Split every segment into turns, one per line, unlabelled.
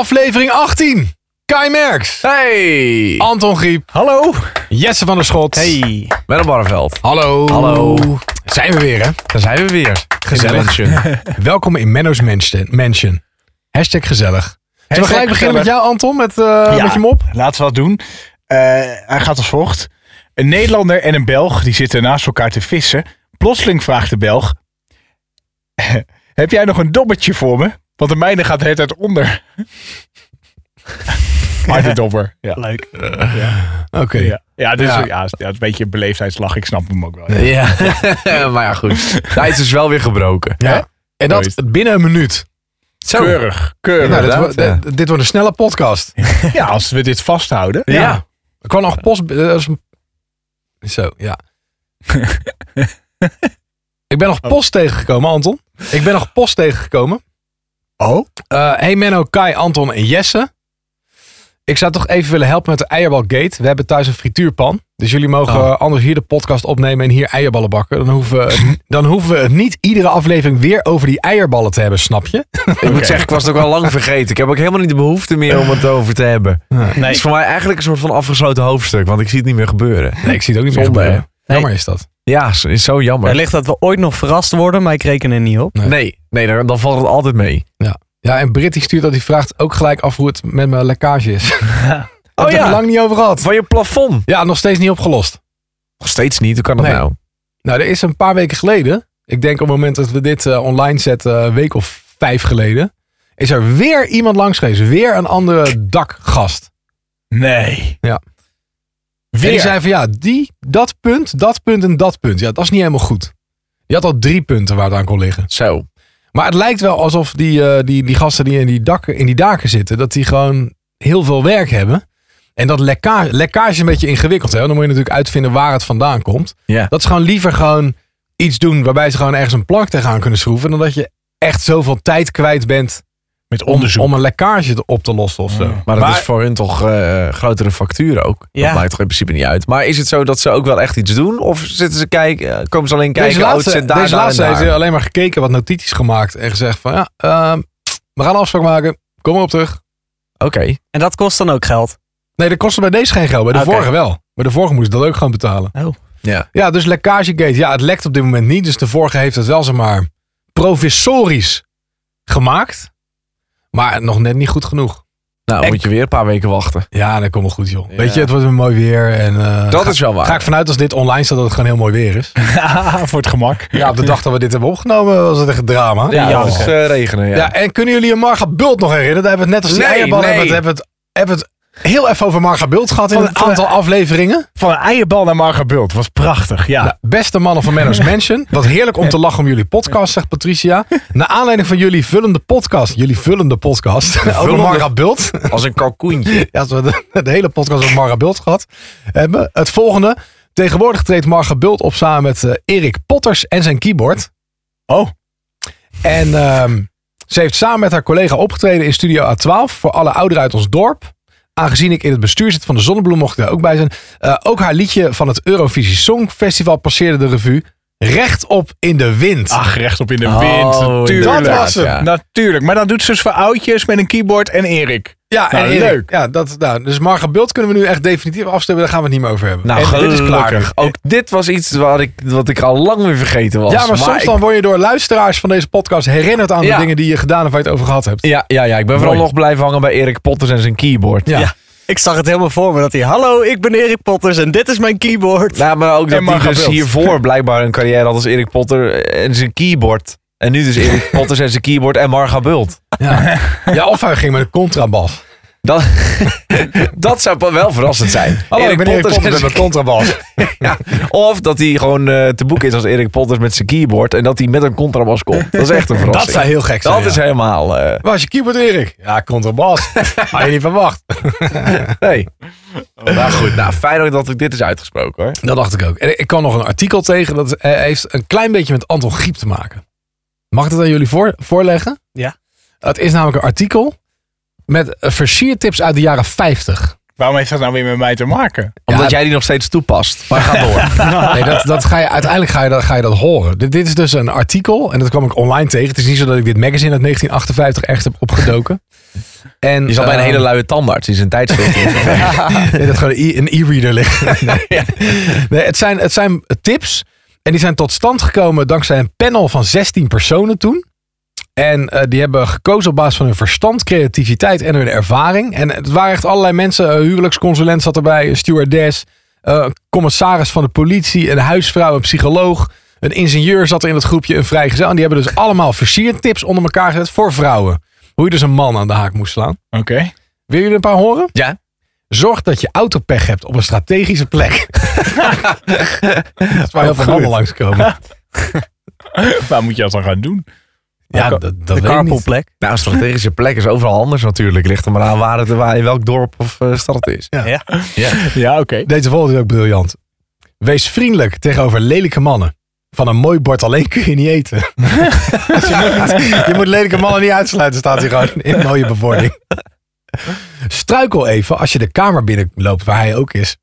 Aflevering 18. Kai Merks.
Hey!
Anton Griep.
Hallo!
Jesse van der Schot.
Hey! Menno Barneveld.
Hallo.
Hallo.
Zijn we weer, hè?
Daar zijn we weer.
Gezellig. Welkom in Menno's Mansion. Mansion. Hashtag gezellig. Zullen we gelijk beginnen met jou, Anton? Met, eh met je mop?
Laten we dat doen. Eh, hij gaat als volgt. Een Nederlander en een Belg die zitten naast elkaar te vissen. Plotseling vraagt de Belg. Heb jij nog een dobbertje voor me? Want de mijne gaat de hele tijd onder. maar de dobber. Ja,
Leuk.
Oké.
ja. ja, dit is,
Ja.
ja. het is een beetje een beleefdheidslach. Ik snap hem ook wel. Ja.
Ja, maar ja, goed. Tijd is wel weer gebroken.
Hè?
Ja. En dat binnen een minuut.
Zo.
Keurig, keurig.
Nou, dit,
Inderdaad,
wordt-
ja.
dit- dit wordt een snelle podcast.
Ja, als we dit vasthouden.
Ja.
Er kwam nog post... eh, als een- Zo, ja. Ik ben nog
Oh.
post tegengekomen, Anton. Ik ben nog post tegengekomen.
Oh?
Eh, hey Menno, Kai, Anton en Jesse. Ik zou toch even willen helpen met de eierbalgate. We hebben thuis een frituurpan. Dus jullie mogen
Oh.
eh, anders hier de podcast opnemen en hier eierballen bakken. Dan hoeven, we het- dan hoeven we het niet iedere aflevering weer over die eierballen te hebben, snap je?
Ik moet zeggen, ik was het ook al lang vergeten. Ik heb ook helemaal niet de behoefte meer om het over te hebben. Het is voor mij eigenlijk een soort van afgesloten hoofdstuk, want ik zie het niet meer gebeuren.
Nee, ik zie het ook niet meer
Zonde,
gebeuren.
Nee.
Jammer is dat.
Ja, zo- is zo jammer.
Er ligt dat we ooit nog verrast worden, maar ik reken er niet op.
Nee.
Nee, nee dan, dan valt het altijd mee.
Ja, en Britt die stuurt dat, die vraagt ook gelijk af hoe het met mijn lekkage is. Daar
Oh
hebben we
ja.
het lang niet over gehad.
Van je plafond.
Ja, nog steeds niet opgelost.
Nog steeds niet, hoe kan dat
Nee.
nou?
Nou, er is een paar weken geleden, ik denk op het moment dat we dit eh, online zetten, een week of vijf geleden, is er weer iemand langs geweest. Weer een andere dakgast.
Nee.
Ja. En die
Weer.
zei van ja, die, dat punt, dat punt en dat punt. Ja, dat is niet helemaal goed. Je had al drie punten waar het aan kon liggen.
Zo.
Maar het lijkt wel alsof die, eh, die, die gasten die in die, dakken, in die daken zitten, dat die gewoon heel veel werk hebben. En dat lekkage, lekkage is een beetje ingewikkeld. Hè? Want Dan moet je natuurlijk uitvinden waar het vandaan komt.
Ja.
Dat ze gewoon liever gewoon iets doen waarbij ze gewoon ergens een plank tegenaan kunnen schroeven. Dan dat je echt zoveel tijd kwijt bent
Met
om,
onderzoek.
om een lekkage te- op te lossen of zo.
Ja.
Maar dat
Maar-
is voor hun toch eh, grotere facturen ook.
Ja.
Dat maakt toch in principe niet uit. Maar is het zo dat ze ook wel echt iets doen? Of zitten ze kijken, komen ze alleen kijken?
Deze
oh, het
laatste,
zit daar,
deze
daar en
laatste heeft
daar.
alleen maar gekeken, wat notities gemaakt. En gezegd van ja, ehm, we gaan een afspraak maken. Kom maar op terug.
Oké.
En dat kost dan ook geld.
Nee, dat kostte bij deze geen geld. Bij de
Oké.
vorige wel. Bij de vorige moest ik dat ook gewoon betalen.
Oh.
Ja.
Ja, dus lekkagegate. Ja, het lekt op dit moment niet. Dus de vorige heeft het wel, zeg maar, provisorisch gemaakt. Maar nog net niet goed genoeg.
Nou,
Ik-
moet je weer een paar weken wachten.
Ja, dat komt wel goed, joh.
Ja.
Weet je, het wordt een mooi weer. En, eh,
Dat
ga,
is wel waar.
ga ik vanuit als dit online staat dat het gewoon heel mooi weer is.
Ah, Voor het gemak.
Ja, op de dag dat we dit hebben opgenomen was het echt een drama.
ja,
Ja,
dat is
oké.
eh, regenen. Ja.
Ja, en kunnen jullie een Marga Bult nog herinneren? Daar hebben we het net als die
Nee,
eierballen
nee.
hebben we het, hebben we het heel even over Marga Bult gehad in
Van-
een aantal afleveringen.
Van een eierbal naar Marga Bult. Was prachtig. Ja.
Nou, beste mannen van Menno's Mansion. Wat heerlijk om te lachen om jullie podcast, zegt Patricia. Naar aanleiding van jullie vullende podcast. Jullie vullende podcast. Over
vullende-
Marga Bult.
Als een kalkoentje.
Ja, als we de, de hele podcast over Marga Bult gehad hebben. Het volgende. Tegenwoordig treedt Marga Bult op samen met eh, Erik Potters en zijn keyboard.
Oh.
En ehm, ze heeft samen met haar collega opgetreden in Studio A12 voor alle ouderen uit ons dorp. Aangezien ik in het bestuur zit van de Zonnebloem, mocht ik daar ook bij zijn. Eh, ook haar liedje van het Eurovisie Songfestival passeerde de revue. Rechtop in de wind.
Ach, rechtop in de
Oh,
wind. Natuurlijk.
dat was hem.
Ja.
Natuurlijk. Maar dan doet ze dus voor oudjes met een keyboard en Erik.
ja,
nou,
Erik.
leuk.
Ja, dat, nou, dus Marga Bult kunnen we nu echt definitief afstemmen. Daar gaan we het niet meer over hebben.
Nou,
En
gelukkig.
dit is klaar. dus. nu.
Ook dit was iets wat ik, wat ik al lang weer vergeten was.
Ja, maar, soms
ik-
dan word je door luisteraars van deze podcast herinnerd aan
Ja.
de dingen die je gedaan of waar je het over gehad hebt.
Ja, ja, ja, ik ben vooral
Mooi.
nog blijven hangen bij Erik Potters en zijn keyboard.
Ja.
Ik zag het helemaal voor me dat hij, hallo, ik ben Erik Potters en dit is mijn keyboard.
Nou, maar ook dat hij
Marga
dus
Bult.
hiervoor blijkbaar een carrière had als Erik Potter en zijn keyboard. En nu dus Erik Potters en zijn keyboard en Marga Bult.
Ja. Oh, ja, of hij ging met een contrabas.
Dat, dat zou pa- wel verrassend zijn.
Hallo, ik ben Erik
Potters en
Potter met
zijn-
een contrabas.
ja. Of dat hij gewoon eh, te boek is als Erik Potters met zijn keyboard. En dat hij met een contrabas komt. Dat is echt een verrassing.
Dat zou heel gek zijn.
Dat
ja.
is helemaal... eh,
Waar is je keyboard, Erik? Ja, contrabas. Had je niet verwacht.
nee.
Oh.
Maar goed, nou, fijn ook dat ik dit is uitgesproken hoor.
Dat dacht ik ook. En ik kwam nog een artikel tegen. Dat eh, heeft een klein beetje met Anton Griep te maken. Mag ik dat aan jullie voor, voorleggen?
Ja.
Het is namelijk een artikel met eh, versiertips uit de jaren 50.
Waarom heeft dat nou weer met mij te maken?
Omdat jij die nog steeds toepast. Maar ga door.
Nee, dat, dat ga je, uiteindelijk ga je, dat, ga je dat horen. Dit, dit is dus een artikel en dat kwam ik online tegen. Het is niet zo dat ik dit magazine uit 1958 echt heb opgedoken. En,
Je zat bij een
ehm,
hele luie tandarts in zijn tijdschrift.
Nee, dat gewoon een e- een e-reader ligt. Nee, nee, het, zijn, het zijn tips. En die zijn tot stand gekomen dankzij een panel van 16 personen toen. En eh, die hebben gekozen op basis van hun verstand, creativiteit en hun ervaring. En het waren echt allerlei mensen. Eh, huwelijksconsulent zat erbij, een stewardess, eh, een commissaris van de politie, een huisvrouw, een psycholoog. Een ingenieur zat er in het groepje, een vrijgezel. En die hebben dus allemaal versiertips onder elkaar gezet voor vrouwen. Hoe je dus een man aan de haak moest slaan.
Oké.
Wil jullie een paar horen?
Ja.
Zorg dat je autopech hebt op een strategische plek. dat is waar heel veel
goed.
mannen langskomen.
Waar moet je dat dan gaan doen?
Ja,
de
dat, dat
de
weet ik niet.
carpoolplek.
nou, een strategische plek is overal anders natuurlijk. Ligt er maar aan waar het, waar, in welk dorp of eh, stad het is.
Ja.
Ja, oké.
Deze volgende is ook briljant. Wees vriendelijk tegenover lelijke mannen. Van een mooi bord alleen kun je niet eten. Dus je, moet, je moet lelijke mannen niet uitsluiten, staat hier gewoon in mooie bevordering. Struikel even als je de kamer binnenloopt waar hij ook is.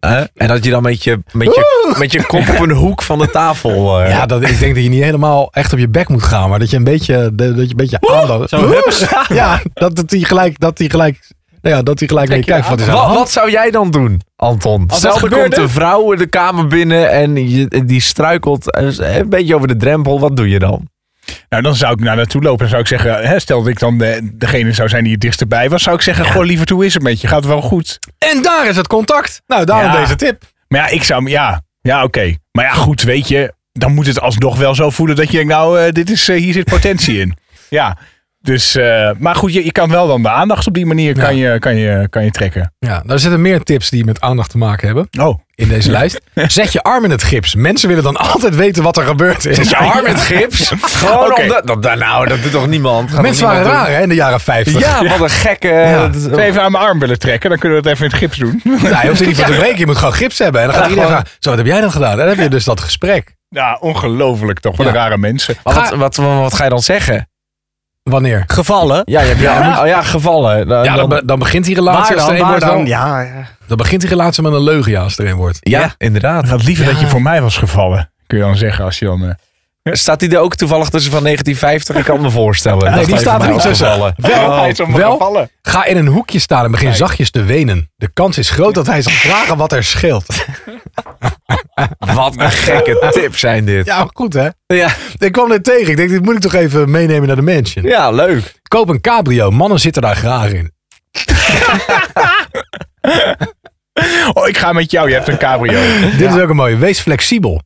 Hè? En dat je dan met je, met, je, met je kop op een hoek van de tafel... eh,
Ja, dat, ik denk dat je niet helemaal echt op je bek moet gaan, maar dat je een beetje, dat je een beetje aandacht.
Zo hups.
Ja, dat dat hij gelijk, dat hij gelijk, nou ja, dat hij gelijk naar je kijkt. Wat is er aan de
Wat,
hand?
wat zou jij dan doen, Anton?
dat
Stel, er komt
gebeurde?
een vrouw in de kamer binnen en je, en die struikelt eh, een beetje over de drempel. Wat doe je dan?
Nou, dan zou ik naar naartoe lopen en zou ik zeggen, hè, stel dat ik dan eh, degene zou zijn die het dichtst erbij was, zou ik zeggen, goh, lieverd, hoe is het met je? Gaat het wel goed?
En daar is het contact. Nou, daarom
Ja.
deze tip.
Maar ja, ik zou, ja, ja, oké. Maar ja, goed, weet je, dan moet het alsnog wel zo voelen dat je denkt, nou, eh, dit is, eh, hier zit potentie in. Ja, dus, eh, maar goed, je, je kan wel dan de aandacht op die manier kan je, kan je, kan je trekken.
Ja, daar zitten meer tips die met aandacht te maken hebben
Oh,
in deze lijst. Zet je arm in het gips. Mensen willen dan altijd weten wat er gebeurd is.
Je arm in het gips? Gewoon
Oké.
omdat... dat- dat- nou, dat doet toch niemand? Gaat
Mensen
toch
waren
niemand
raar hè, in de jaren 50.
doen? Ja, wat een gekke... dat is-
zou je even aan mijn arm willen trekken, dan kunnen we het even in het gips doen.
Nou, je hoeft er niet voor te breken. Je moet gewoon gips hebben. En dan gaat iedereen vragen, zo, wat heb jij dan gedaan? En dan heb je dus dat gesprek.
Ja, ongelooflijk toch, wat
Ja.
een rare mensen.
Maar wat, wat, wat, wat ga je dan zeggen?
Wanneer?
Gevallen.
Ja, je hebt ja. Oh, ja gevallen. Dan-
Ja, dan,
dan-
be- dan begint die relatie
Waar
als er
dan?
een
Waar
wordt.
dan?
Dan,
Ja, ja.
dan begint die relatie met een leugen ja, als er een wordt.
ja, inderdaad.
Het had liever dat je voor mij was gevallen, kun je dan zeggen als je dan... eh,
Staat die er ook toevallig tussen van 1950? Ik kan me voorstellen.
Nee,
Dat
die
hij
staat
voor
er
mij
niet
was
tussen.
gevallen.
Wel,
hij is allemaal
wel,
gevallen.
Ga in een hoekje staan en begin zachtjes te wenen. De kans is groot dat hij zal vragen wat er scheelt.
Oh, Wat een gekke tip zijn dit.
Ja, maar goed hè.
Ja,
Ik kwam dit tegen. Ik denk, dit moet ik toch even meenemen naar de mansion.
ja leuk.
Koop een cabrio. Mannen zitten daar graag in.
Oh, ik ga met jou, je hebt een cabrio. Oh,
Dit is ook een mooie. Wees flexibel.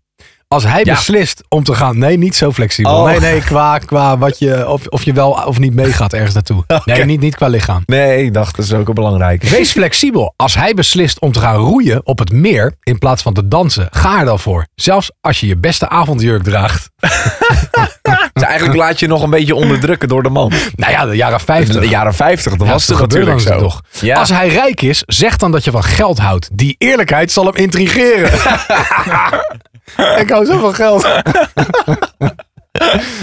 Als hij
Ja.
beslist om te gaan... Nee, niet zo flexibel.
Oh.
Nee, nee, qua, qua wat je, of, of je wel of niet meegaat ergens naartoe. Nee, niet, niet qua lichaam.
Nee, ik dacht, dat is ook een belangrijke.
Wees flexibel. Als hij beslist om te gaan roeien op het meer in plaats van te dansen, ga er dan voor. Zelfs als je je beste avondjurk draagt.
Dus eigenlijk laat je nog een beetje onderdrukken door de man.
Nou ja, de jaren
In
50.
de jaren 50, dat
Ja,
was
dat
het
gebeurde
natuurlijk zo.
dan toch.
Ja.
Als hij rijk is, zeg dan dat je van geld houdt. Die eerlijkheid zal hem intrigeren. ik hou zo van geld.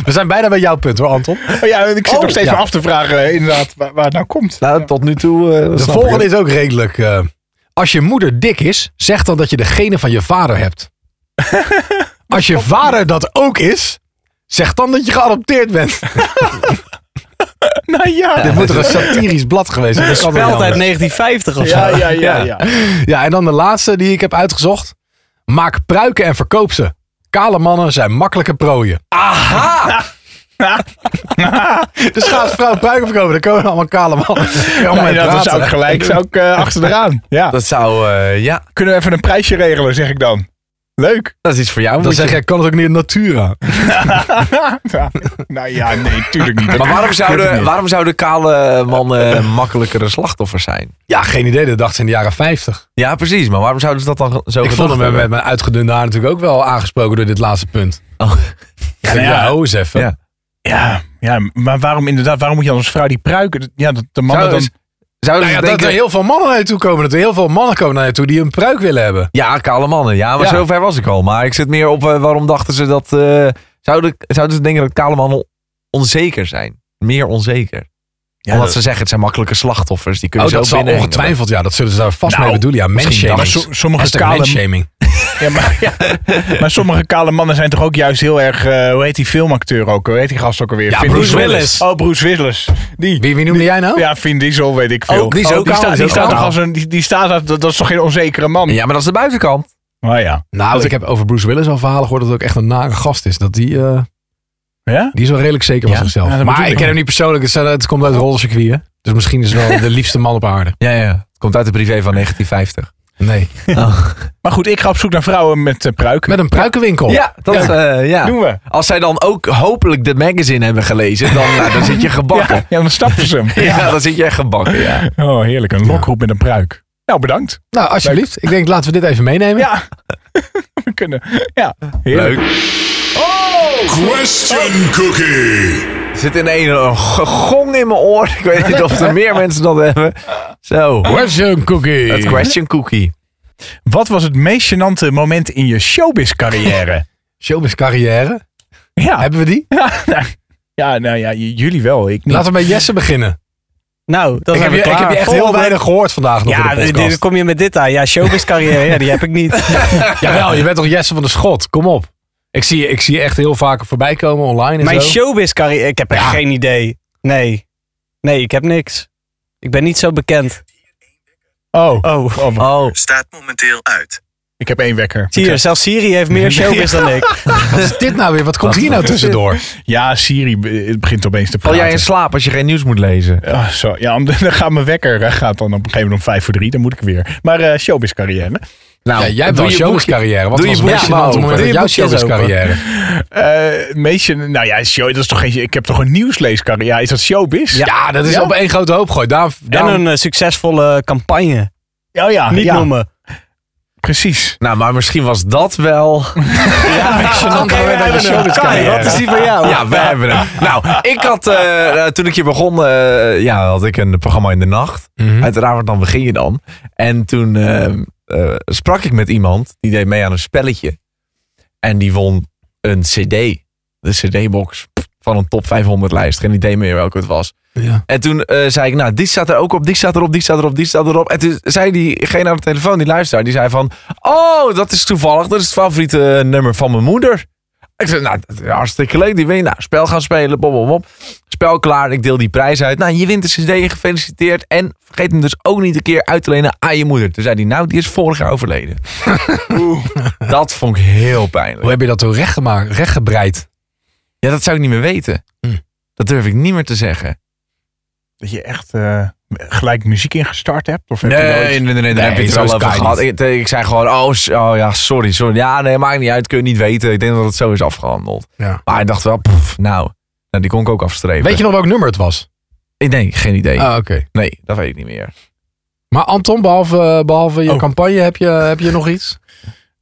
We zijn bijna bij jouw punt hoor, Anton.
Maar ja, ik zit
Oh,
nog steeds
ja.
me af te vragen eh, inderdaad waar, waar het nou komt.
Nou, tot nu toe. eh, dat
De
snap
volgende
ik.
is ook redelijk. eh, als je moeder dik is, zeg dan dat je de genen van je vader hebt. Als je vader dat ook is, zeg dan dat je geadopteerd bent.
Nou ja,
Dit moet er een satirisch blad geweest zijn. Dat kan toch niet
Speld uit
anders?
1950 of zo.
Ja, ja, ja, Nou, ja.
Ja, en dan de laatste die ik heb uitgezocht. Maak pruiken en verkoop ze. Kale mannen zijn makkelijke prooien. Aha! dus ga als vrouw pruiken verkopen, dan komen er allemaal kale mannen. Allemaal
Nee,
in
nou, dat
praten.
zou ik gelijk zou ik, eh, achter de raam. Ja.
Dat zou, eh, ja,
Kunnen we even een prijsje regelen, zeg ik dan. Leuk.
dat is iets voor jou.
Dan
Moet
zeg
je-
jij, kan het ook niet in natura?
Ja. Nou ja, nee, tuurlijk niet.
Maar waarom
Tuurlijk
zouden,
niet.
waarom zouden kale mannen makkelijkere slachtoffers zijn?
Ja, geen idee. Dat dachten ze in de jaren 50.
Ja, precies. Maar waarom zouden ze dat dan zo
Ik
gedacht
vond hem
hebben?
met mijn uitgedunde haar natuurlijk ook wel aangesproken door dit laatste punt.
Oh.
Ja, ja,
ja.
hou eens even.
Ja.
Ja, ja, maar waarom inderdaad, waarom moet je als vrouw die pruiken? Ja, dat de mannen
Zou-
dan...
Zouden
Nou ja,
ze
dat
denken...
er heel veel mannen naar je toe komen. Dat er heel veel mannen komen naar je toe die een pruik willen hebben.
Ja, kale mannen. Ja, maar
Ja.
zover was ik al. Maar ik zit meer op eh, waarom dachten ze dat... eh, zouden, zouden ze denken dat kale mannen onzeker zijn? Meer onzeker. Omdat ze zeggen, het zijn makkelijke slachtoffers. Die kunnen
Oh, dat
zo
zal
binnen.
ongetwijfeld, ja. Dat zullen ze daar vast
Nou,
mee bedoelen. Ja,
misschien
manshaming.
wel. Maar so- sommige
Hashtag
kale-
manshaming.
Ja, maar, ja. maar sommige kale mannen zijn toch ook juist heel erg... eh, hoe heet die filmacteur ook? Hoe heet die gast ook alweer?
Ja,
Vin
Bruce
Diesel.
Willis.
Oh, Bruce Willis. Die.
Wie, wie noemde jij nou?
Ja, Vin Diesel, weet ik veel. Oh,
Ook, die is ook
die
kaal,
staat,
is
die
ook
staat
kaal.
toch als een... Die, die staat, als- dat, dat is toch geen onzekere man?
Ja, maar dat is de buitenkant.
Maar ja.
Nou, ik heb over Bruce Willis al verhalen gehoord dat het ook echt een nare gast is. Dat die, eh,
Ja?
die is wel redelijk zeker van
Ja?
zichzelf.
Ja, dat bedoel
maar ik
ik.
ken hem niet persoonlijk. Het, zijn- het komt uit het rollercircuit, hè? Dus misschien is het wel de liefste man op aarde.
Ja, ja. Komt uit de privé van 1950.
Nee.
Maar goed, ik ga op zoek naar vrouwen met eh, pruiken.
Met een pruikenwinkel.
Ja, dat eh, Oh. ja.
Doen we.
Als zij dan ook hopelijk de magazine hebben gelezen, dan, nou, dan zit je gebakken.
Ja, dan snappen ze hem.
Ja, dan zit je echt gebakken, ja.
Oh, heerlijk. Een lokroep met een pruik. Nou, bedankt.
Nou, alsjeblieft. Ik denk, laten we dit even meenemen.
Ja. We kunnen. Ja. Heerlijk.
Leuk.
Question Cookie.
Oh! Er zit in een, een ge- gong in mijn oor. Ik weet niet of er meer mensen dat hebben. Zo,
Question cookie.
het question cookie.
Wat was het meest gênante moment in je showbiz-carrière?
Showbiz carrière.
Ah.
ja.
Hebben we die?
Ja, nou, ja, nou ja, j- jullie wel. Ik niet.
Laten we bij Jesse beginnen.
Nou, dat
Ik heb,
hebben
je,
we
ik
klaar.
heb je echt heel
Volgende.
weinig gehoord vandaag nog
Ja,
in de
dan
podcast.
dan kom je met dit aan. Ja, showbizcarrière, ja, die heb ik niet.
Jawel, je bent toch Jesse van de Schot? Kom op. Ik zie je ik zie je echt heel vaak voorbij komen online en
Mijn
zo.
showbizcarrière, ik heb echt geen idee. Nee. Nee, ik heb niks. Ik ben niet zo bekend.
Oh,
Oh,
Oh,
staat momenteel uit.
ik heb één wekker.
zie je, zelfs Siri heeft meer showbiz dan ik.
Wat is dit nou weer? Wat komt hier nou tussendoor?
Ja, Siri be- het begint opeens te
val
praten.
jij in slaap als je geen nieuws moet lezen?
Oh, zo. Ja, om- dan gaat mijn wekker eh, gaat dan op een gegeven moment om vijf voor drie. Dan moet ik weer. Maar eh showbiz-carrière.
Nou, ja, jij hebt wel
doe
een
je
showbiz-carrière. Wat
doe je
was het meest
boekje
gênante
maar open.
moment
Doe
uit
je
jouw
boekjes open.
showbiz-carrière?
Eh meest gen- nou ja, show, dat is toch geen, ik heb toch een nieuwsleescarrière. Ja, is dat showbiz?
Ja, dat is
Ja?
op één grote hoop gooien. Daarom,
En
daarom-
een eh, succesvolle campagne.
Oh
Ah,
ja,
Niet
ja,
noemen.
Precies.
Nou, maar misschien was dat wel...
gênant
Oké,
moment uit
we
je
hebben hem.
showbiz-carrière.
Kai, wat is die van jou?
Ja, we hebben hem. Nou, ik had... eh, eh, toen ik hier begon, eh, ja, had ik een programma in de nacht.
Mhm.
Uiteraard, want dan begin je dan. En toen eh, eh, sprak ik met iemand. Die deed mee aan een spelletje. En die won een cd. De cd-box van een top 500 lijst. Geen idee meer welke het was.
Ja.
En toen eh, zei ik, nou, die staat er ook op, die staat erop, die staat erop, die staat erop. En toen zei diegene aan de telefoon, die luisteraar, die zei van... Oh, dat is toevallig, dat is het favoriete eh, nummer van mijn moeder. Ik zei, nou, dat is hartstikke leuk, die win. Nou, spel gaan spelen, bom, bom, bom. Spel klaar, ik deel die prijs uit. Nou, je wint de cd, gefeliciteerd. En vergeet hem dus ook niet een keer uit te lenen aan je moeder. Toen zei hij, nou, die is vorig jaar overleden. dat vond ik heel pijnlijk.
Hoe heb je dat toen recht gemaakt, recht gebreid?
Ja, dat zou ik niet meer weten.
Hm.
Dat durf ik niet meer te zeggen.
Dat je echt eh, gelijk muziek ingestart hebt? Of heb je nooit-
Nee, nee, nee, nee, daar heb je
Nee,
het
zo
wel
is
over
Kai
gehad. Ik, ik zei gewoon, oh, s- oh ja, sorry, sorry. Ja, nee, maakt niet uit, kun je niet weten. Ik denk dat het zo is afgehandeld.
Ja.
Maar ik dacht wel, poef, nou, nou, die kon ik ook afstrepen.
Weet je nog welk nummer het was?
Ik denk, geen idee.
Ah, oké.
Nee, dat weet ik niet meer.
Maar Anton, behalve, eh, behalve je
Oh.
campagne, heb je, heb je nog iets?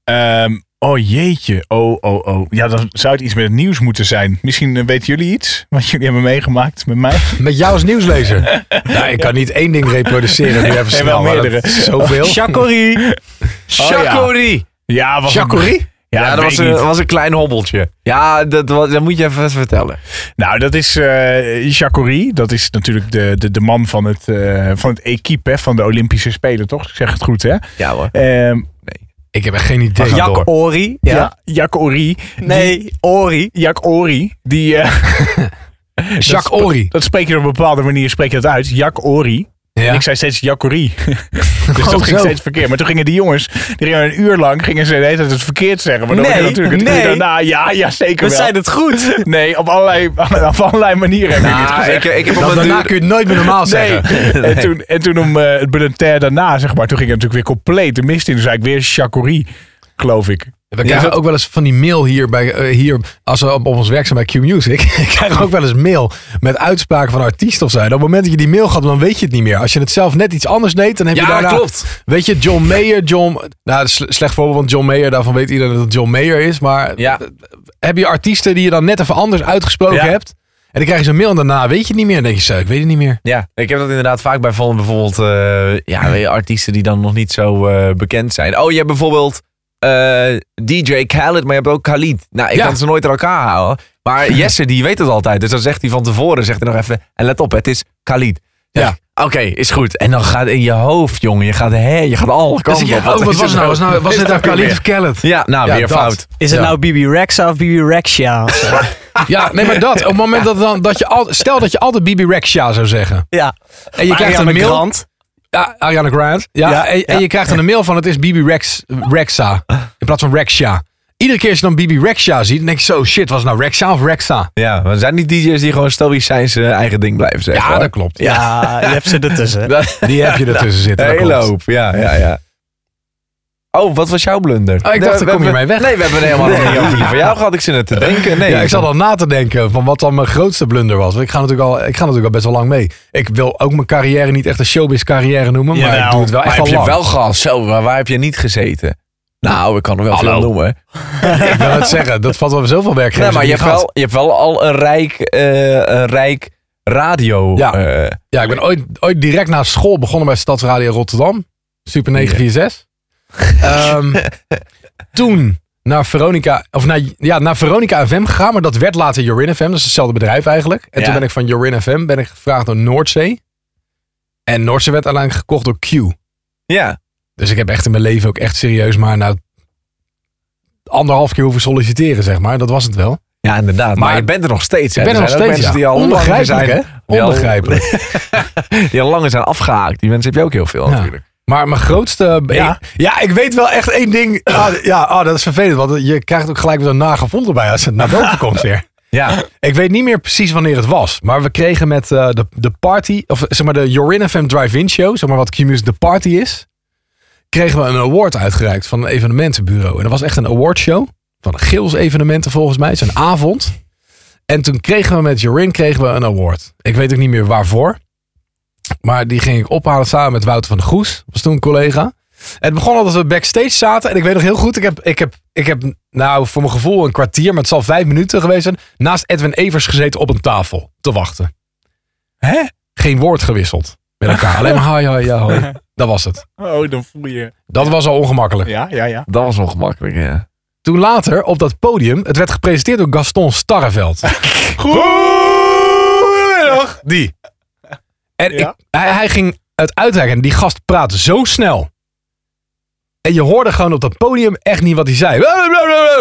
Ehm, oh jeetje, oh, oh, oh. Ja, dan zou het iets met het nieuws moeten zijn. Misschien eh, weten jullie iets wat jullie hebben meegemaakt met mij.
Met jou als nieuwslezer? nou, ik kan niet één ding reproduceren. Nu even
wel
snel, maar dat
meerdere.
is
Oh,
Zoveel. Oh,
Chacorie.
ja.
Chacorie! ja.
Ja, was het-
Chacorie?
Ja,
dat was
weet
eh,
ik
een,
niet.
was een klein hobbeltje. Ja, dat, was- dat moet je even vertellen.
Nou, dat is eh Chacorie. Dat is natuurlijk de, de, de man van het, eh, van het equipe hè, van de Olympische Spelen, toch? Ik zeg het goed, hè?
Ja hoor.
Ehm
Ik heb echt geen idee.
Ga
Jak
door.
Ori. Ja.
ja, Jacori.
Nee, Ori.
Jacori, die... eh,
Jacques Ori.
dat spreek je op een bepaalde manier spreek je dat uit. Jacori.
Ja.
En ik zei steeds Jacori. dus dat
Oh, zo.
ging steeds verkeerd. Maar toen gingen die jongens, die gingen een uur lang, gingen ze de hele tijd het verkeerd zeggen. Maar dan
Nee,
werd het natuurlijk het uur
nee.
daarna, ja, ja, zeker
We
wel.
zijn het goed.
Nee, op allerlei, op allerlei manieren heb ik dit
Ah,
gezegd.
ik, ik heb op
Dan,
een
daarna
duur...
kun je het nooit meer normaal
Nee.
zeggen.
En toen, en toen om eh, het bulletin daarna, zeg maar, toen ging het natuurlijk weer compleet de mist in. Toen zei ik weer Chacorie, geloof ik.
We krijgen ook wel eens van die mail hier, bij, eh, hier als we op, op ons werk zijn bij Q-Music. krijgen we ook wel eens mail met uitspraken van artiesten of zo. En op het moment dat je die mail gaat, dan weet je het niet meer. Als je het zelf net iets anders deed, dan heb je
Ja,
daarna...
klopt.
Weet je, John Mayer, John... Nou, dat is een slecht voorbeeld, want John Mayer, daarvan weet iedereen dat het John Mayer is. Maar
Ja.
heb je artiesten die je dan net even anders uitgesproken
Ja.
hebt? En dan krijg je zo'n mail en daarna weet je het niet meer. Dan denk je zo, ik weet het niet meer.
Ja, ik heb dat inderdaad vaak bij van bijvoorbeeld eh, ja, weet je, artiesten die dan nog niet zo eh, bekend zijn. Oh, je hebt bijvoorbeeld eh, DJ Khaled, maar je hebt ook Khalid. Nou, ik
Ja.
kan ze nooit aan elkaar houden. Maar Jesse, die weet het altijd. Dus dan zegt hij van tevoren, zegt hij nog even, en let op, het is Khalid.
Ja.
Ja. Oké, is goed. En dan gaat in je hoofd, jongen. Je gaat, hè, je gaat alle
Dan zeg
kanten
je,
op.
oh, wat was
is het
nou? Was, nou, was
Is
dit nou
dat ook
Khalid
weer?
of Kellet?
Ja, nou,
Ja,
weer
dat.
fout.
Is het
Ja.
nou Bibi Rexa of Bibi Rexia? of zo?
Ja, nee, maar dat. Op het moment dat, dan, dat je al, stel dat je altijd Bibi Rexha zou zeggen.
ja.
En je krijgt een
Ariana
mail.
Grande.
Ja, Ariana Grande. Ja,
Ja,
en, en
ja.
je krijgt dan een mail van het is Bibi Rex, Rexa. In plaats van Rexha. Iedere keer als je dan Bibi Rexha ziet, dan denk je zo, shit, was het nou Rexha of Rexa?
Ja, maar er zijn niet DJ's die gewoon stoïsch zijn zijn eigen ding blijven zeggen.
Ja,
hoor.
dat klopt.
Ja, je hebt ze ertussen.
Dat-
Die heb je ertussen zitten. dat
Hele
klopt.
hoop, ja, ja, ja. Oh, wat was jouw blunder?
dacht,
Nee,
daar
we
kom je
hebben-
mee weg.
Nee, we hebben het helemaal
Nee.
niet over die van jou gehad. Ik zit net te denken. Nee,
ja, ik zat al na te denken van wat dan mijn grootste blunder was. Want Ik ga natuurlijk al, ik ga natuurlijk al best wel lang mee. Ik wil ook mijn carrière niet echt een showbiz carrière noemen, maar
Jawel.
ik doe het wel
Maar
echt
heb
al
je
lang.
wel gehad? Zo, maar waar heb je niet gezeten? Nou, ik kan er wel
Hallo.
veel noemen.
Ik wil het zeggen, dat valt wel zoveel werkgevers.
Nee, maar je
die
hebt,
gaat.
wel, je hebt wel al een rijk, eh, een rijk radio.
Ja.
eh,
Ja, ik ben ooit, ooit direct na school begonnen bij Stadsradio Rotterdam. Super 946. Ehm, toen naar Veronica, of naar, ja, naar Veronica FM gegaan, maar dat werd later Jorin FM. Dat is hetzelfde bedrijf eigenlijk. En
Ja.
toen ben ik van Jorin FM ben ik gevraagd door Noordzee. En Noordzee werd uiteindelijk gekocht door Q.
ja.
Dus ik heb echt in mijn leven ook echt serieus maar nou anderhalf keer hoeven solliciteren, zeg maar. Dat was het wel.
ja, inderdaad. Maar,
Maar
je bent er nog steeds. hè.
Ik ben er nog
zijn ook
steeds, ja.
mensen die al langer
Onbegrijpelijk,
zijn,
hè?
die al-
Onbegrijpelijk.
die al langer zijn afgehaakt. Die mensen heb je ook heel veel
Ja.
natuurlijk.
Maar mijn grootste...
Ja.
Ja. ik weet wel echt één ding. Ah, ja, ah, dat is vervelend, want je krijgt ook gelijk weer een nagevond erbij als het naar boven komt weer.
Ja,
Ik weet niet meer precies wanneer het was, maar we kregen met eh, de, de party, of zeg maar de Jorin FM Drive-In Show, zeg maar wat Q-Music de party is, kregen we een award uitgereikt van een evenementenbureau. En dat was echt een awardshow van Gils evenementen volgens mij, zo'n avond. En toen kregen we met Jorin kregen we een award. Ik weet ook niet meer waarvoor, maar die ging ik ophalen samen met Wouter van de Goes, was toen een collega. Het begon al dat we backstage zaten. En ik weet nog heel goed, ik heb, ik heb, ik heb nou voor mijn gevoel een kwartier, maar het zal vijf minuten geweest zijn. Naast Edwin Evers gezeten op een tafel te wachten.
Hè?
Geen woord gewisseld met elkaar. Alleen maar hoi, hoi, ja, hoi. Dat was het.
Oh, dan voel je.
Dat was al ongemakkelijk.
Ja, ja, ja.
dat was ongemakkelijk, ja.
Toen later op dat podium, het werd gepresenteerd door Gaston Starreveld.
Goedemiddag.
Die. En
Ja.
ik, hij, hij ging het uitreiken. En die gast praat zo snel. En je hoorde gewoon op dat podium echt niet wat hij zei.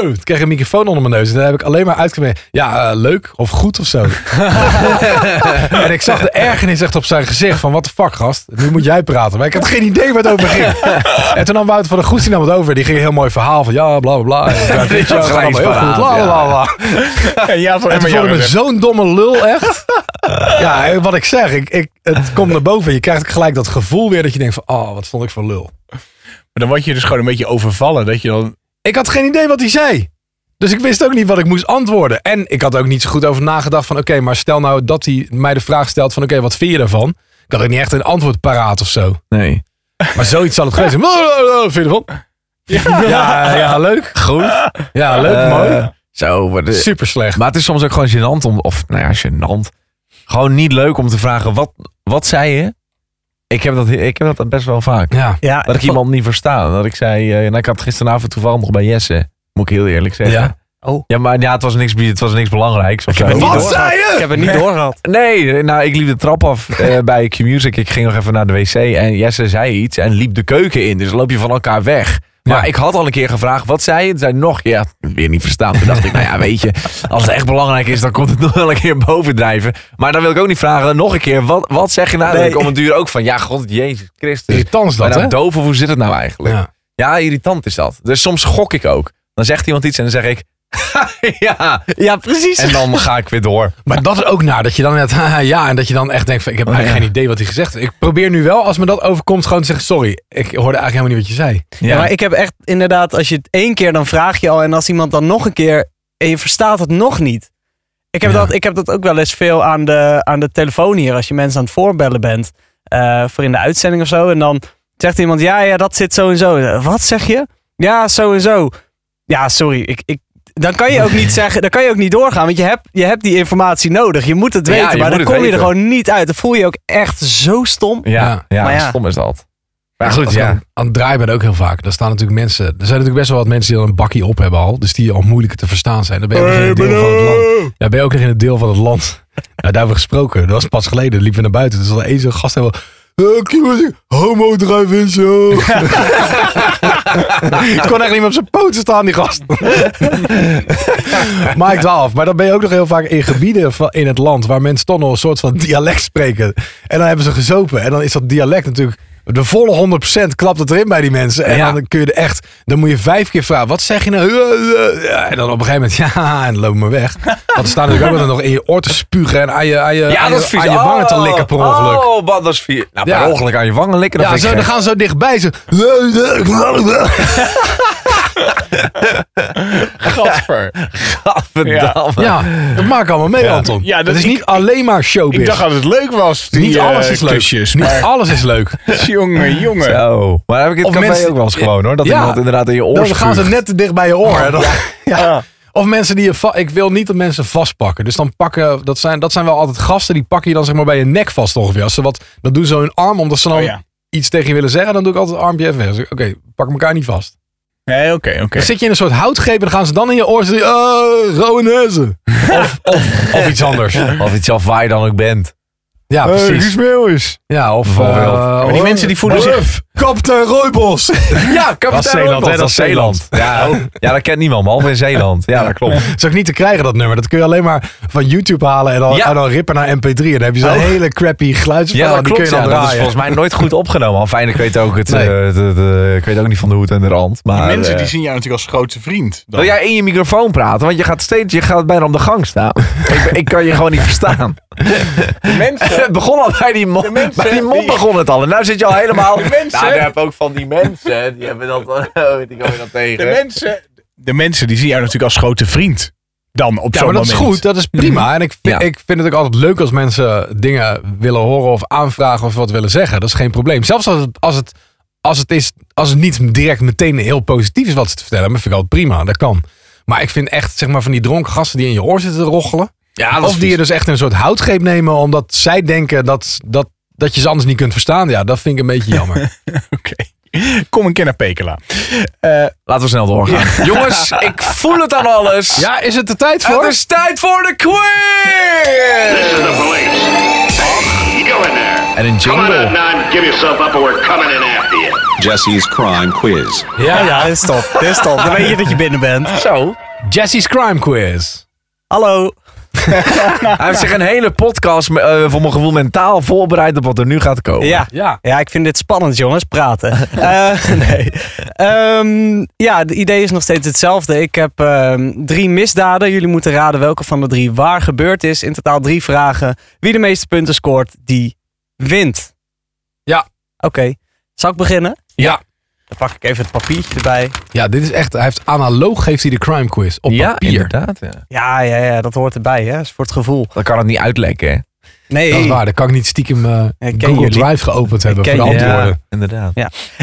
Toen kreeg ik een microfoon onder mijn neus. En daar heb ik alleen maar uitgemerkt. Ja, eh, leuk of goed of zo. en ik zag de ergernis echt op zijn gezicht. Van wat de fuck gast. Nu moet jij praten. Maar ik had geen idee waar het over ging. en toen nam Wouter van der Goes die nam het over. Die ging een heel mooi verhaal van ja bla bla bla. En ja,
Die
dit
had
gaat
gelijk
allemaal heel goed.
paraat,
La,
ja.
la, la.
En ja, zo
En toen voelde ik me zo'n domme lul, echt. ja, en wat ik zeg, ik, ik, het komt naar boven. Je krijgt gelijk dat gevoel weer dat je denkt van... Oh, wat vond ik voor lul.
Maar dan word je dus gewoon een beetje overvallen. Dat je dan.
Ik had geen idee wat hij zei. Dus ik wist ook niet wat ik moest antwoorden. En ik had ook niet zo goed over nagedacht van... Oké, maar stel nou dat hij mij de vraag stelt van... Oké, wat vind je daarvan? Ik had ook niet echt een antwoord paraat of zo.
Nee.
Maar zoiets zal het geweest zijn. Wat vind je ervan? Ja, ja, leuk.
Goed.
Ja, leuk,
Eh,
mooi.
Zo, maar, de-
Super slecht.
maar het is soms ook gewoon gênant om, of nou ja, gênant. Gewoon niet leuk om te vragen, wat, wat zei je? Ik heb, dat, ik heb dat best wel vaak.
Ja,
Ja,
Dat ik iemand niet versta. Dat ik zei, eh, nou, ik had gisteravond toevallig nog bij Jesse. Moet ik heel eerlijk zeggen.
Ja.
Oh.
Ja, maar ja, het, was niks, het was niks belangrijks. Of zo.
het niet
Wat?
door.
zei je?
Ik heb het niet doorgehad.
Nee, nou, ik liep de trap af eh, bij Q-Music. Ik ging nog even naar de wc en Jesse zei iets en liep de keuken in. Dus loop je van elkaar weg. Maar
Ja.
ik had al een keer gevraagd, wat zei je? Toen zei hij nog, ja, weer niet verstaan. Toen dacht ik, nou ja, weet je, als het echt belangrijk is, dan komt het nog wel een keer bovendrijven. Maar dan wil ik ook niet vragen, nog een keer, wat, wat zeg je nou? Dan
Nee.
denk ik om een duur ook van, ja, god, Jezus Christus.
Irritants
Ben
dat, hè?
nou doof of hoe zit het nou eigenlijk?
Ja.
Ja, irritant is dat. Dus soms gok ik ook. Dan zegt iemand iets en dan zeg ik, ja.
Ja, precies.
En dan ga ik weer door.
Maar dat is ook naar dat je dan net haha, ja en dat je dan echt denkt van ik heb
Oh,
eigenlijk
ja.
geen idee wat hij gezegd heeft. Ik probeer nu wel als me dat overkomt gewoon te zeggen sorry. Ik hoorde eigenlijk helemaal niet wat je zei.
Ja. maar ik heb echt inderdaad, als je het één keer, dan vraag je al. En als iemand dan nog een keer, en je verstaat het nog niet. Ik heb,
Ja.
dat, ik heb dat ook wel eens veel aan de, aan de telefoon hier. Als je mensen aan het voorbellen bent. eh, voor in de uitzending of zo. En dan zegt iemand, ja, ja, dat zit zo en zo. Eh, Wat zeg je? Ja, zo en zo. Ja, sorry. Ik, ik, dan kan je ook niet zeggen, dan kan je ook niet doorgaan. Want je hebt, je hebt die informatie nodig. Je moet het
Ja,
weten.
je
maar
moet
dan
het
kom je er
weten.
gewoon niet uit. Dan voel je je ook echt zo stom.
Ja, ja,
Maar ja.
stom is dat. Maar goed,
Als ik
ja.
aan, aan het draaien ben ook heel vaak. Daar staan natuurlijk mensen. Er zijn natuurlijk best wel wat mensen die al een bakkie op hebben al. Dus die al moeilijker te verstaan zijn. Dan ben je ook nog in het deel van het land. Ja, ben je ook nog in het deel van het land. Nou, daar hebben we gesproken. Dat was pas geleden. Liepen we naar buiten. Dus al één zo'n gast helemaal. eh, kieuwen, Homo drive in zo. Ik kon echt niet meer op zijn poten staan, die gast. maar ik dwaal af. Maar dan ben je ook nog heel vaak in gebieden van, in het land waar mensen toch nog een soort van dialect spreken. En dan hebben ze gezopen. En dan is dat dialect natuurlijk de volle 100% klapt het erin bij die mensen. En
Ja.
dan kun je er echt, dan moet je vijf keer vragen. Wat zeg je nou? Ja, En dan op een gegeven moment, ja, en dan lopen we weg. Want er staan natuurlijk ook altijd nog in je oor te spugen en aan je, aan je, aan je, aan je wangen te likken per ongeluk.
Oh, wat, dat is vies. Nou,
Ja.
per ongeluk aan je wangen likken. Dat
Ja,
vind ik
zo, dan
gek.
gaan ze zo dichtbij. Ze...
Gadver.
Gadverdamme.
Ja, dat maak ik allemaal mee, Anton.
Ja, dat
dat is
ik-
niet alleen maar showbiz.
Ik dacht dat het leuk was. Die,
Niet alles
eh,
is leuk.
kusjes,
Niet
maar-
alles is leuk.
jongen, jongen.
Zo. Maar daar heb ik in
Of
het café
mensen-
ook wel eens gewoon hoor. Dat
Ja.
iemand inderdaad in je oor
Dan gaan ze
spuugt.
net te dicht bij je oor. hè. Dan- ja. Of mensen die je... va- Ik wil niet dat mensen vastpakken. Dus dan pakken... Dat zijn, dat zijn wel altijd gasten. Die pakken je dan zeg maar bij je nek vast ongeveer. Als ze wat... Dan doen ze hun arm. Omdat ze dan
Oh, ja.
iets tegen je willen zeggen. Dan doe ik altijd het armpje even weg. Dan zeg ik, Oké, pak elkaar niet vast.
Nee, oké, oké.
Dan zit je in een soort houtgreep. En dan gaan ze dan in je oor. Zeggen, oh, rauwe neuzen. Of, of, of iets anders.
Of iets af waar je dan ook bent.
Eh,
Ja, precies.
is.
Ja, of...
Bijvoorbeeld.
eh,
Maar die mensen die voelen zich...
Kaptein Rooibos.
Ja,
Dat is Zeeland, hè?
Dat is Zeeland. Ja, ja, dat kent niemand, behalve in Zeeland. Ja, dat klopt.
is ook niet te krijgen, dat nummer. Dat kun je alleen maar van YouTube halen en dan,
Ja.
en dan rippen naar MP3. En dan heb je zo'n
Oh.
hele crappy geluidsverhaal.
Ja, dat
Oh, die
klopt.
kun je
Ja,
dan
dat is
draaien.
volgens mij nooit goed opgenomen. Enfin, ik weet ook, het,
Nee.
eh, het- het, eh, ik weet ook niet van de hoed en de rand. Maar,
Mensen
eh,
die zien jou natuurlijk als grootste vriend. dan.
wil jij in je microfoon praten? Want je gaat steeds, je gaat bijna om de gang staan. ik, ik kan je gewoon niet verstaan.
De mensen...
Het begon al bij die mond.
mensen
Bij die mond
die-
begon het al. En nu zit je al helemaal.
De mensen-
Nou, daar heb ik ook van die mensen. Die hebben dat. Oh, die komen dat
De
tegen.
mensen... De mensen die zien jou natuurlijk als grote vriend. Dan op
Ja,
zo'n
maar dat
moment.
is goed. Dat is prima. En ik, vind-
Mhm. Ja.
ik vind het ook altijd leuk als mensen dingen willen horen of aanvragen of wat willen zeggen. Dat is geen probleem. Zelfs als het, als het, als het, is, als het niet direct meteen heel positief is wat ze te vertellen hebben, vind ik altijd prima. Dat kan. Maar ik vind echt zeg maar, van die dronken gasten die in je oor zitten te rochelen.
Ja, dat
Of
is
die je
vies.
dus echt in een soort houtgreep nemen omdat zij denken dat, dat, dat je ze anders niet kunt verstaan. Ja, dat vind ik een beetje jammer.
Oké. Kom een keer naar Pekela.
Laten we snel doorgaan. Jongens, ik voel het aan alles.
Ja, is het de tijd
Het
voor?
is tijd voor de quiz!
the police. Hey, you go in there.
En een
Come on out
jingle.
now and give yourself up or we're coming in after you.
Jesse's Crime Quiz.
Ja, ja, dit is top. Dit is top. Dan weet je dat je binnen bent.
Zo.
Jesse's Crime Quiz.
Hallo.
Hij heeft zich een hele podcast eh, voor mijn gevoel mentaal voorbereid op wat er nu gaat komen.
Ja.
Ja.
Ja, ik vind dit spannend, jongens. Praten. Eh, nee. Ehm, ja, het idee is nog steeds hetzelfde. Ik heb ehm, drie misdaden. Jullie moeten raden welke van de drie waar gebeurd is. In totaal drie vragen. Wie de meeste punten scoort, die wint.
Ja.
Oké. Zal ik beginnen?
Ja.
Dan pak ik even het papiertje erbij.
Ja, dit is echt. Hij heeft analoog geeft hij de crime quiz op
Ja,
papier.
inderdaad. Ja.
Ja, ja, ja, dat hoort erbij. Hè? Dat is voor het gevoel.
Dan kan het niet uitlekken. hè?
Nee.
Dat is waar. Dan kan ik niet stiekem eh,
ken
Google
jullie.
Drive geopend hebben voor
ken
de
jullie.
antwoorden.
inderdaad.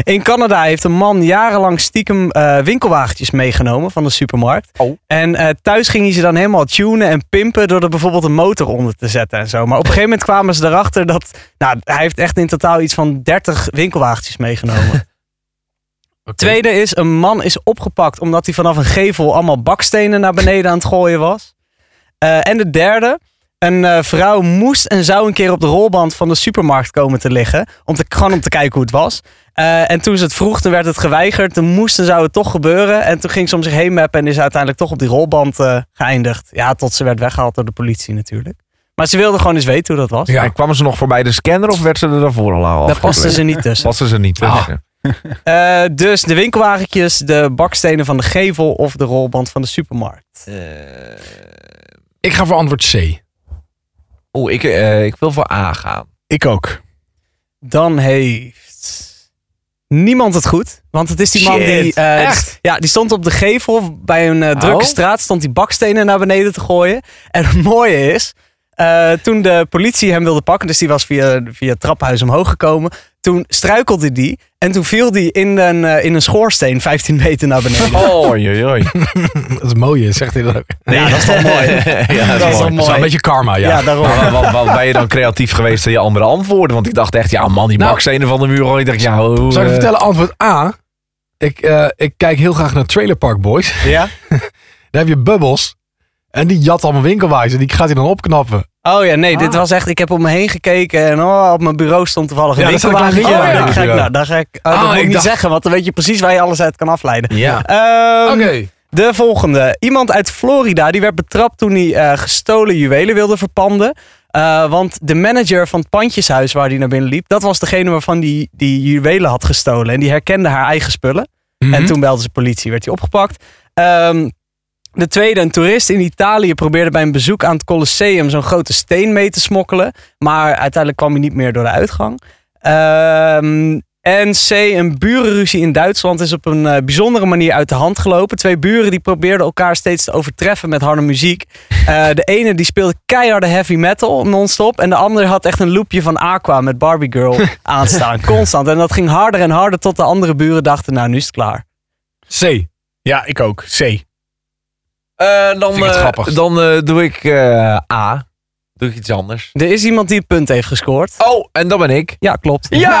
In Canada heeft een man jarenlang stiekem eh, winkelwagentjes meegenomen van de supermarkt.
Oh.
En eh, thuis ging hij ze dan helemaal tunen en pimpen door er bijvoorbeeld een motor onder te zetten en zo. Maar op een gegeven moment kwamen ze erachter dat nou, hij heeft echt in totaal iets van 30 winkelwagentjes meegenomen. Tweede is, een man is opgepakt omdat hij vanaf een gevel allemaal bakstenen naar beneden aan het gooien was. Eh, en de derde, een eh, vrouw moest en zou een keer op de rolband van de supermarkt komen te liggen. Om te, gewoon om te kijken hoe het was. Eh, en toen ze het vroeg, toen werd het geweigerd. Toen moest en zou het toch gebeuren. En toen ging ze om zich heen mappen en is uiteindelijk toch op die rolband eh, geëindigd. Ja, tot ze werd weggehaald door de politie natuurlijk. Maar ze wilde gewoon eens weten hoe dat was.
Ja.
En kwamen ze nog voorbij de scanner of werd ze er daarvoor al af?
Daar pasten ze niet tussen.
Pasten ze niet tussen.
Eh, dus de winkelwagentjes, de bakstenen van de gevel of de rolband van de supermarkt.
Ik ga voor antwoord C.
Oeh, ik, eh, ik wil voor A gaan.
Ik ook.
Dan heeft niemand het goed. Want het is die man die.
Shit,
eh,
echt?
Ja, die stond op de gevel bij een eh, drukke
Oh.
straat. Stond die bakstenen naar beneden te gooien. En het mooie is. eh, toen de politie hem wilde pakken, dus die was via, via het traphuis omhoog gekomen. Toen struikelde die en toen viel die in een, eh, in een schoorsteen 15 meter naar beneden.
Oh, joi, joi.
Dat is mooi, hè, zegt hij dat ook.
Ja, dat is wel mooi.
Ja, dat is
wel
mooi.
Dat is wel een beetje karma, ja.
Ja, daarom.
Maar wat, wat ben je dan creatief geweest in je andere antwoorden? Want ik dacht echt, ja man, die
Nou.
Max een van de muur. hoor. Ik dacht, ja, hoe...
Zal ik je
eh,
vertellen, antwoord A. Ik, eh, ik kijk heel graag naar Trailer Park Boys.
Ja?
Daar heb je Bubbles. En die jat allemaal winkelwijzen. Die gaat hij dan opknappen.
Oh ja, nee,
Ah.
dit was echt. Ik heb om me heen gekeken en oh, op mijn bureau stond toevallig een
Ja, dat zat ik
winkelwagen.
laatst niet
Oh,
in
ja,
mijn
dan ga ik-
bureau.
nou, dan ga ik.
Ah,
Oh, dat moet
ik
ik niet
dacht-
zeggen, want dan weet je precies waar je alles uit kan afleiden.
Ja.
Ehm,
Oké.
De volgende. Iemand uit Florida die werd betrapt toen hij eh, gestolen juwelen wilde verpanden. Eh, want de manager van het pandjeshuis waar hij naar binnen liep, dat was degene waarvan die, die juwelen had gestolen. En die herkende haar eigen spullen. En toen belde ze de politie, werd hij opgepakt. Ehm, de tweede, een toerist in Italië probeerde bij een bezoek aan het Colosseum zo'n grote steen mee te smokkelen. Maar uiteindelijk kwam hij niet meer door de uitgang. Ehm, en C, een burenruzie in Duitsland is op een eh, bijzondere manier uit de hand gelopen. Twee buren die probeerden elkaar steeds te overtreffen met harde muziek. Eh, de ene die speelde keiharde heavy metal non-stop. En de andere had echt een loopje van Aqua met Barbie Girl aanstaan. Constant. En dat ging harder en harder tot de andere buren dachten, nou nu is het klaar.
C.
Ja, ik ook. C.
Eh, dan
Vind ik het
eh,
grappig.
dan eh, doe ik eh, A. Doe ik iets anders.
Er is iemand die een punt heeft gescoord.
Oh, en dat ben ik.
Ja, klopt.
Ja!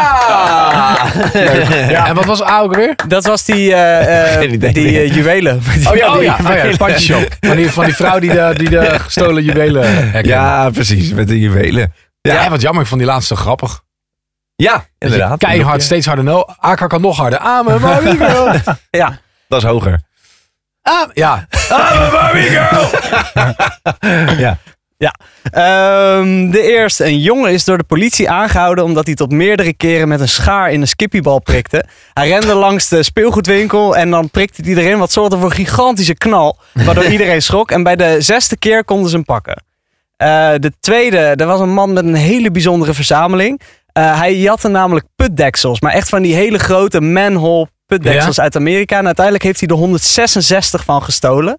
En wat was A ook weer?
Dat was die, eh, eh,
Geen idee
die
meer.
eh, juwelen.
Oh ja, oh ja, het pandjeshow. Van die, van die vrouw die de, die de gestolen juwelen herkende.
Ja, precies. Met de juwelen.
Ja. wat jammer. Ik vond die laatste zo grappig.
Ja,
Dat je
inderdaad.
Keihard, steeds harder. No. AK kan nog harder. Amen, Barbie girl.
ja.
Dat is hoger.
Ah, ja.
I'm Barbie girl!
Ehm, de eerste. Een jongen is door de politie aangehouden omdat hij tot meerdere keren met een schaar in een skippiebal prikte. Hij rende langs de speelgoedwinkel en dan prikte hij erin wat zorgde voor een gigantische knal. Waardoor iedereen schrok en bij de zesde keer konden ze hem pakken. Eh, de tweede. Er was een man met een hele bijzondere verzameling. Eh, hij jatte namelijk putdeksels, maar echt van die hele grote manhole putdeksels uit Amerika. En uiteindelijk heeft hij er 166 van gestolen.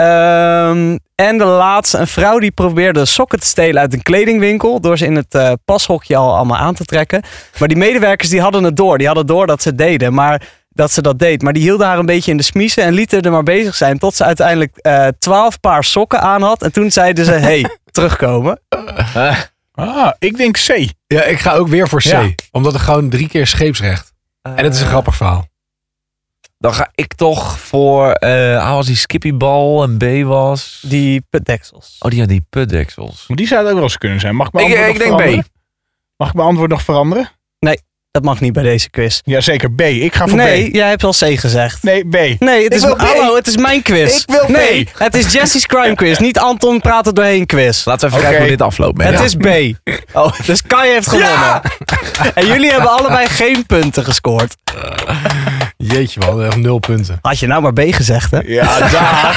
Ehm, en de laatste, een vrouw die probeerde sokken te stelen uit een kledingwinkel. Door ze in het eh, pashokje al allemaal aan te trekken. Maar die medewerkers die hadden het door. Die hadden door dat ze het deden. Maar dat ze dat deed. Maar die hielden haar een beetje in de smiezen en lieten er maar bezig zijn. Tot ze uiteindelijk eh, twaalf paar sokken aan had. En toen zeiden ze, hey, terugkomen.
Ah, ik denk C.
ja, ik ga ook weer voor C.
Ja.
Omdat er gewoon drie keer scheepsrecht. En het is een
Eh.
grappig verhaal.
Dan ga ik toch voor eh, A was die Skippybal en B was...
Die putdeksels.
Oh, die had die putdeksels.
Maar die zou het ook wel eens kunnen zijn. Mag ik mijn
Ik, eh,
antwoord
ik
nog
denk
veranderen?
B.
Mag ik mijn antwoord nog veranderen?
Dat mag niet bij deze quiz.
Jazeker, B. Ik ga voor
nee,
B.
jij hebt al C gezegd.
Nee, B.
Nee, het
Ik
is,
wil B.
hallo, het is mijn quiz.
Ik wil B.
nee, het is Jesse's Crime Quiz. Niet Anton praat er doorheen quiz.
Laten we even
Oké.
kijken hoe dit afloopt. man.
Het is B. Oh. Dus Kai heeft gewonnen. En jullie hebben allebei geen punten gescoord.
Jeetje man, echt nul punten.
Had je nou maar B gezegd, hè?
Ja, daar.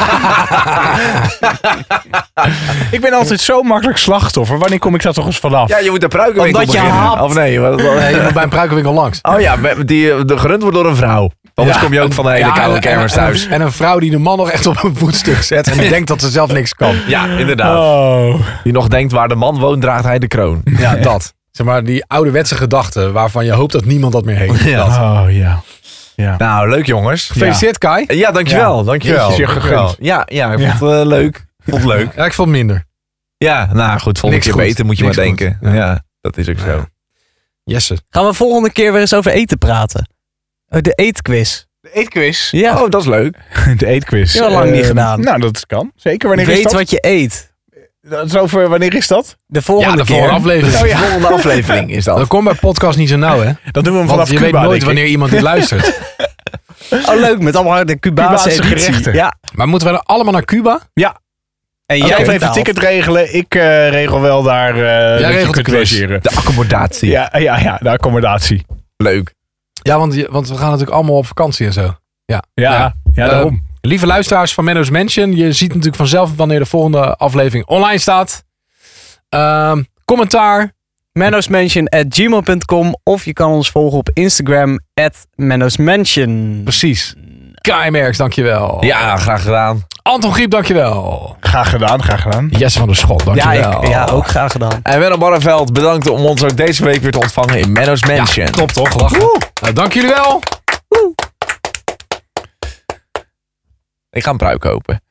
ik ben altijd zo makkelijk slachtoffer. Wanneer kom ik daar toch eens vanaf?
Ja, je moet de pruikenwinkel
Omdat je
beginnen.
hapt.
Of nee, wat, wat-
Oh, Nee, je moet bij een pruikenwinkel langs.
Oh ja, met- die eh, de gerund wordt door een vrouw. Anders kom je ook van de hele
Ja,
koude
en-
kermis
en- en-
thuis.
En een vrouw die de man nog echt op een voetstuk zet. En die denkt dat ze zelf niks kan.
Ja, inderdaad.
Oh.
Die nog denkt waar de man woont, draagt hij de kroon.
Ja, dat. Zeg maar die ouderwetse gedachte waarvan je hoopt dat niemand dat meer heeft.
Ja.
Dat.
Oh, ja.
Nou, leuk jongens.
Gefeliciteerd Kai.
Ja, dankjewel. dankjewel.
Jeetje, zeg,
Dankjewel.
gegund.
Ja, ja, ik vond het eh, leuk. Vond het leuk.
Ja, ik vond het minder.
Ja, nou goed, volgende
Niks
keer
goed.
beter moet je
Niks
maar
goed.
denken. Ja. dat is ook zo.
Jesse.
Gaan we volgende keer weer eens over eten praten? Oh, de eetquiz.
De eetquiz.
Ja,
Oh, dat is leuk.
De eetquiz.
Heel lang niet
Eh,
gedaan.
Nou, dat kan. Zeker. Wanneer is
weet
dat?
wat je eet.
Dat is over, wanneer is dat?
De volgende
Ja, de
keer.
volgende aflevering.
De volgende aflevering is dat.
Dat komt bij podcast niet zo nauw, hè?
Dat doen we hem
Want
vanaf
je
Cuba,
weet
denk
nooit
ik.
wanneer iemand dit luistert.
Oh, leuk, met allemaal de Cubaanse,
Cubaanse
editie.
gerechten.
Ja.
Maar moeten we dan allemaal naar Cuba?
En jij
Jij
betaalt.
even
nou.
een ticket regelen. Ik eh, regel wel daar. eh dat je
regelt de
kunt
quiz.
logeren.
De accommodatie.
Ja, eh, ja, ja, de accommodatie.
Leuk.
Ja, want, je- want we gaan natuurlijk allemaal op vakantie en zo.
Ja,
Ja. Ehm,
ja, daarom.
Lieve luisteraars van Menno's Mansion, je ziet natuurlijk vanzelf wanneer de volgende aflevering online staat. Ehm, commentaar.
Menno'smansion at gmail.com of je kan ons volgen op Instagram at Menno'smansion.
Precies. Kai Merks, dankjewel.
Ja, graag gedaan.
Anton Griep, dankjewel.
Graag gedaan, graag gedaan.
Jesse van der Schot,
Ja,
dankjewel.
ik, ja, ook graag gedaan.
En Menno Barneveld, bedankt om ons ook deze week weer te ontvangen in Menno's Mansion.
Top toch? Lachen. Nou, dank jullie wel.
Ik ga een pruik kopen.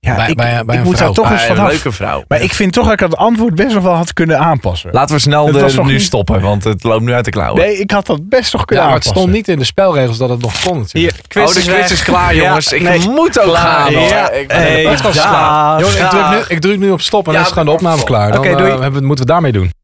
Ja,
Bij-
ik,
bij- bij
ik
een
moet
vrouw. Ah,
daar toch eens
een
vanaf.
leuke vrouw.
Maar ik vind toch dat ik dat antwoord best nog wel had kunnen aanpassen.
Laten we snel
Het was
de,
nog
nu
niet-
stoppen, want het loopt nu uit de klauwen.
Nee, ik had dat best nog kunnen
Ja, maar het
aanpassen.
stond niet in de spelregels dat het nog kon natuurlijk.
oh, de quiz is klaar, jongens. ik moet ook gaan. hoor.
Ja,
Ik ben-
Hey,
Het was
dag.
klaar. Jongen, ik, druk
Dag.
nu, ik druk nu op stop en dan
Ja,
is gewoon de opname klaar. Dan
Oké, doei.
eh, hebben, we- moeten we het daarmee doen.